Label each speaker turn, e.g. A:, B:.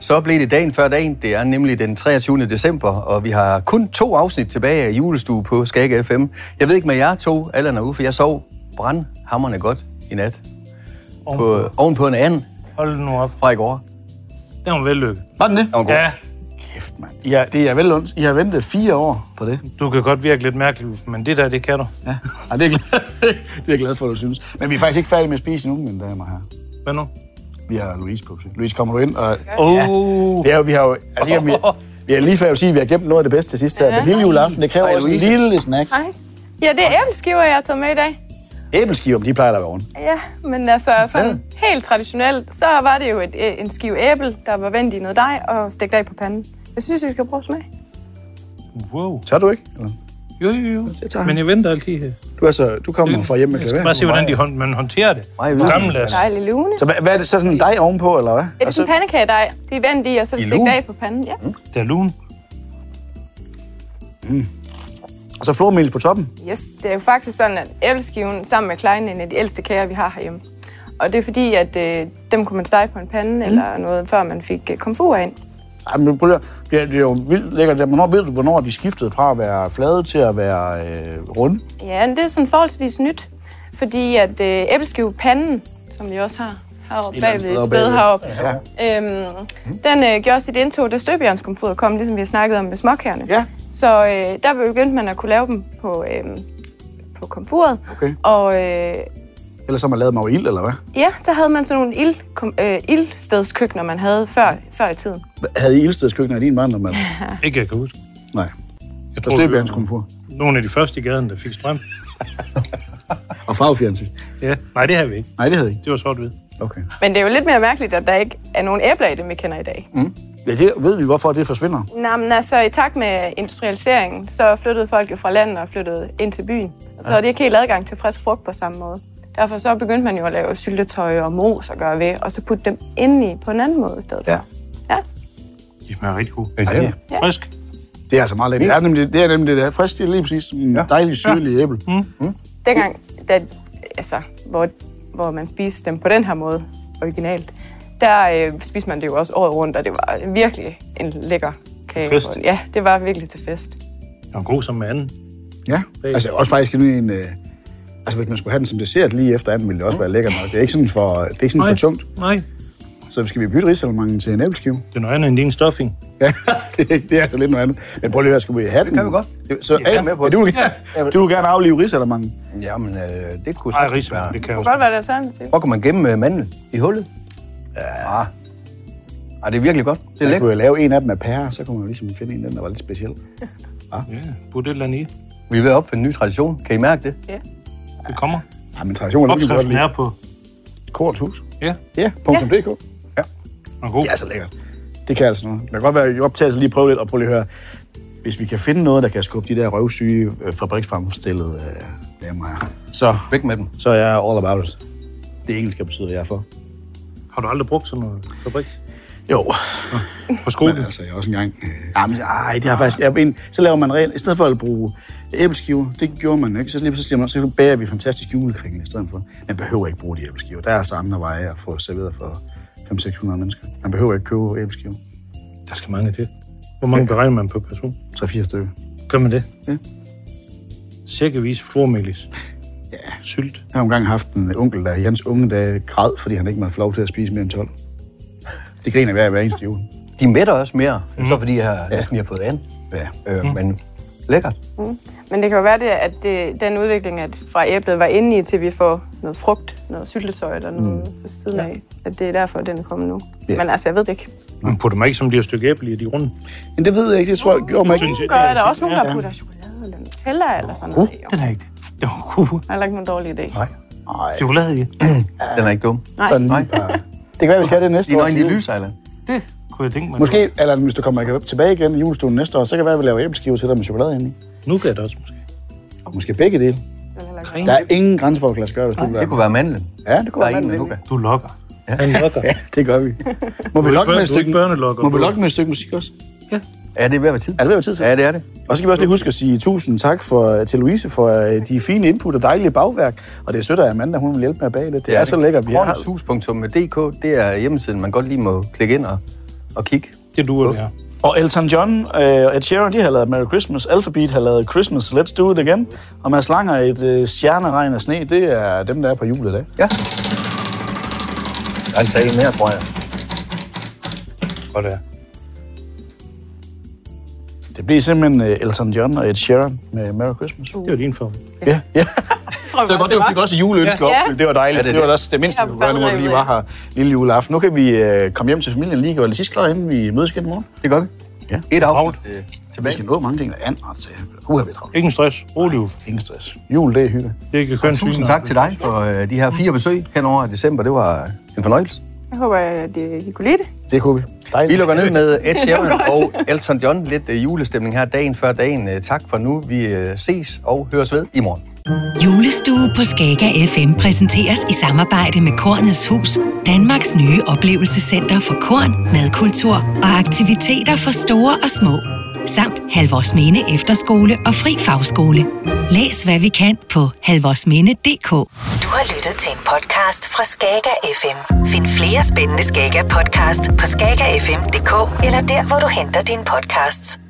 A: Så blev det dagen før dagen. Det er nemlig den 23. december, og vi har kun to afsnit tilbage af julestue på Skag FM. Jeg ved ikke med jer to, Allan og Uffe, jeg sov brandhammerne godt i nat. På, ovenpå en anden
B: Hold nu op.
A: fra i går.
B: Det var vellykket.
C: Var den det?
A: Den var god.
B: Ja,
C: Kæft, mand. Ja, det er vel ondt. I har ventet fire år på det.
B: du kan godt virke lidt mærkelig, Uffe, men det der, det kan du.
C: Ja. Ej, det, er jeg glad. det er jeg glad for, at du synes. Men vi er faktisk ikke færdige med at spise nu, mine damer og herrer.
B: Hvad nu?
C: Vi har Louise på besøg. Louise, kommer du ind? Og,
B: Oh,
C: det er jo, vi har jo... Altså, ikke, om vi, vi er lige før at sige, at vi har gemt noget af det bedste til sidst her. Men lille juleaften, det kræver
A: Hej,
C: også en
A: Louise.
C: lille snack.
D: Hej. Ja, det er æbleskiver, jeg har taget med i dag.
C: Æbleskiver, men de plejer der at være rundt.
D: Ja, men altså sådan helt traditionelt, så var det jo et, øh, en skive æble, der var vendt i noget dej og stegt af på panden. Jeg synes, I skal prøve at smage.
B: wow.
C: Tør du ikke? Eller?
B: Jo, jo, jo. Men jeg venter altid her.
C: Du, er så, du kommer fra hjemme med
B: Jeg skal
C: klaver.
B: bare se, hvordan de hånd, man håndterer det.
A: Meget vildt.
B: Gammeldags.
D: Dejlig lune.
C: Så hvad, hvad er det så sådan en dej ovenpå, eller hvad?
D: Ja, det er sådan en pandekagedej. Det er vendt i, og så er det
A: I
D: stegt
A: lune?
D: af på panden. Ja.
B: Det er lun.
C: og så flormelis på toppen.
D: Yes, det er jo faktisk sådan, at æbleskiven sammen med kleinen er en af de ældste kager, vi har herhjemme. Og det er fordi, at øh, dem kunne man stege på en pande mm. eller noget, før man fik øh, komfur ind.
C: Ej, men prøv lige at- det, er, det er jo vildt lækkert. Hvornår ved du, hvornår de skiftede fra at være flade til at være øh, runde?
D: Ja, men det er sådan forholdsvis nyt, fordi at øh, æbleskivepanden, som vi også har heroppe bagved, et sted heroppe, ja. øhm, den øh, gjorde sit indtog, da støbejernskomfuret kom, ligesom vi har snakket om med småkærne.
C: Ja.
D: Så øh, der begyndte man at kunne lave dem på, øh, på komfuret.
C: Okay.
D: Og øh,
C: Ellers så har man lavet dem over ild, eller hvad?
D: ja, så havde man sådan nogle ild, kom, øh, ildstedskøkkener, man havde før, før i tiden.
C: Havde I ildstedskøkkener i din barndom? eller?
B: Ikke, jeg kan huske.
C: Nej.
B: Jeg
C: Der støb hans komfur.
B: nogle af de første i gaden, der fik strøm.
C: Og farvefjernsyn.
B: Ja. Nej, det har vi ikke.
C: Nej, det havde I ikke.
B: Det var sort-hvid.
C: Okay.
D: Men det er jo lidt mere mærkeligt, at der ikke er nogen æbler i dem, vi kender i dag.
C: Ja, det ved vi, hvorfor det forsvinder.
D: Nej, men altså i takt med industrialiseringen, så flyttede folk jo fra landet og flyttede ind til byen. Så ja. de ikke helt adgang til frisk frugt på samme måde. Derfor så begyndte man jo at lave syltetøj og mos og gøre ved, og så putte dem indeni på en anden måde i stedet.
C: Ja.
B: De smager rigtig gode.
C: Ej, det,
D: Ja.
B: Frisk.
C: det er altså meget lækkert. Det er nemlig det, er nemlig det der frisk, det er lige præcis en ja. dejlig syrlig ja. æble. Mm.
D: Dengang, da, altså, hvor, hvor man spiste dem på den her måde, originalt, der øh, spiste man det jo også året rundt, og det var virkelig en lækker kage.
B: Til fest.
D: Ja, det var virkelig til fest.
B: Den var god som med anden.
C: Ja, altså også faktisk en, en øh, altså hvis man skulle have den som dessert lige efter anden, ville det
A: Mm.
C: også være lækkert nok. Det er ikke sådan for, det er ikke sådan for tungt.
B: Nej.
C: Så skal vi bytte risalemangen til en æbleskive?
B: Det er noget andet end din stuffing.
C: Ja, det, er- det er altså lidt noget andet. Men prøv lige at høre, skal vi have den?
A: kan vi godt.
C: Så,
A: Jeg er med på
C: ja,
A: det.
C: du, vil, gerne- du vil gerne aflive risalemangen.
A: Jamen, øh, det kunne
B: Ej,
A: sagtens være.
B: rismand, det kan jeg også.
D: Godt var det alternativ.
A: Hvor kan man gemme øh, mandel? I hullet? Ja. Ah. Ah, det er virkelig godt. Det er
C: Man
A: lækkert.
C: kunne jo lave en af dem af pære, så kunne man jo ligesom finde en af dem, der var lidt speciel.
B: Ja, put et eller andet i.
A: Vi er ved at opfinde en ny tradition. Kan I mærke det?
B: Det kommer.
C: Ja, Ah, men traditionen er lige godt
B: Opskriften
C: lide.
B: er på.
C: Korthus.
B: Ja,
C: Ja, .dk.
B: den er god.
C: Det er så lækkert. Det kan altså noget. Det kan godt være, at i optagelsen lige prøve lidt, og prøve lige at høre, hvis vi kan finde noget, der kan skubbe de der røvsyge øh, fabriksfremstillede øh, damer her, så,
A: Væk med dem.
C: så er jeg all about it. Det engelske betyder, jeg er for.
B: Har du aldrig brugt sådan noget fabrik?
C: Jo,
B: På skolen?
C: Men altså, jeg er også engang... Øh, jamen, ej, det har faktisk... Jeg, en, så laver man regel... I stedet for at bruge æbleskiver, det gjorde man ikke. Så lige pludselig siger man, så bager vi fantastisk julekringle i stedet for. Man behøver ikke bruge de æbleskiver. Der er altså andre veje at få serveret for 500-600 mennesker. Man behøver ikke købe æbleskiver.
B: Der skal mange til. Hvor mange beregner man på person?
C: 3-4 stykker.
B: Gør man det?
C: Ja.
B: Sækkevis flormelis. Ja. Sylt.
C: Jeg har jo engang haft en onkel, der i hans unge dage græd, fordi han ikke måtte få lov til at spise mere end 12. Det griner hver, hver eneste jul.
A: De mætter også mere, mm. så fordi jeg har- næsten jeg har fået an.
C: Ja.
A: Øh, Men lækkert.
D: Men det kan jo være, det, at det, den udvikling at fra æblet var inde i, til vi får noget frugt, noget syltetøj eller noget mm. ved siden af, at det er derfor, den er kommet nu.
C: Ja.
D: Men altså, jeg ved det ikke.
B: Man putter mig ikke som de her stykke æble i de runde.
C: Men det ved jeg ikke. Det tror jeg gjorde mig ikke.
B: Synes jeg-
D: Gør
B: ja,
D: der
B: synes
D: også nogen,
B: jeg,
D: der
B: ja.
D: putter chokolade eller Nutella eller sådan
C: Uh.
D: noget? i, Jo.
B: Den er ikke det. Det var god.
D: Det er heller ikke nogen dårlig idé.
A: Nej.
C: Nej,
B: Chokolade i.
A: Den er ikke dum.
C: sådan lige bare. Det kan være, vi skal have det næste
A: Dine
C: år.
A: øjne,
C: til
A: de
C: jul.
A: lyser, eller?
B: Det kunne jeg tænke mig.
C: Måske, eller hvis du kommer tilbage igen i julestuen næste år, så kan det være, at vi laver æbleskiver til dig med chokolade inde i.
B: Nu kan det også måske.
C: Og måske begge dele.
D: Den er heller ikke-
B: Kring.
C: Der er ingen grænse for, at lade gøre, hvis du vil
A: Det
C: være.
A: kunne være mandlen.
C: Ja, det kunne
A: Der er
C: være
A: en med
C: manden
A: Luca.
B: Du lokker. Ja. Han lokker.
C: Ja, det gør vi. Må vi
B: ikke
C: lokke
B: børn-
C: med
B: du er
C: et stykke,
B: ikke børnelokker
C: må vi
B: på.
C: lokke med et stykke musik også?
B: Ja.
A: Er det ved at være tid?
C: Er Altså, det ved at være tid til?
A: Ja, det er det.
C: Og så skal vi også lige huske at sige tusind tak for, til Louise for øh, de fine input og dejlige bagværk. Og det er sødt af Amanda, hun vil hjælpe med at bage lidt. Det er så lækkert, vi har.
A: Hornshus.dk, det er hjemmesiden, man godt lige må klikke ind og, og kigge.
B: Det duer det her.
C: Og Elton John øh, og Ed Sheeran, de har lavet Merry Christmas. Alphabet har lavet Christmas, Let's Do It Again. Og Mads Langer, et øh, stjerneregn og sne, det er dem, der er på jul i dag.
A: Ja. Der er en tale mere, tror jeg.
B: Godt det er.
C: Det bliver simpelthen øh, Elton John og Ed Sheeran med Merry Christmas.
B: Det var din form.
C: Ja, ja.
D: Tror jeg,
C: Så det var godt, du fik også juleønske ja.
D: Ja.
C: opfyldt. Det var dejligt.
A: Ja, det
C: Ja,
A: er
C: det, det, var
A: det.
C: også det mindste,
D: Jeg
C: vi kunne gøre, nu hvor vi lige
D: falder
C: var her lille juleaften. Nu kan vi øh, komme hjem til familien lige og gøre det sidste klar, inden vi mødes igen i morgen.
A: Det gør vi.
C: Ja.
A: Et afsnit øh,
C: Vi
A: tilbage.
C: skal nå mange ting, der er andet. Altså, uha, vi er travlt.
B: Ikke en stress. Rolig, Uffe.
C: Ingen stress. Jul, det er hygge.
B: Det er ikke køn
A: Tusind tak til dig for øh, de her fire besøg hen over december. Det var øh, en fornøjelse.
D: Jeg håber, at øh, I kunne lide det.
C: Det kunne vi. Dejligt.
A: Vi lukker ned med Ed Sheeran og Elton John. Lidt øh, julestemning her dagen før dagen. Øh, Tak for nu. Vi øh, ses og høres ved i morgen.
E: Julestue på Skaga FM præsenteres i samarbejde med Kornets Hus, Danmarks nye oplevelsescenter for korn, madkultur og aktiviteter for store og små, samt Halvorsminde Efterskole og Fri Fagskole. Læs hvad vi kan på halvorsminde.dk.
F: Du har lyttet til en podcast fra Skager FM. Find flere spændende Skager podcast på skagerfm.dk eller der, hvor du henter dine podcasts.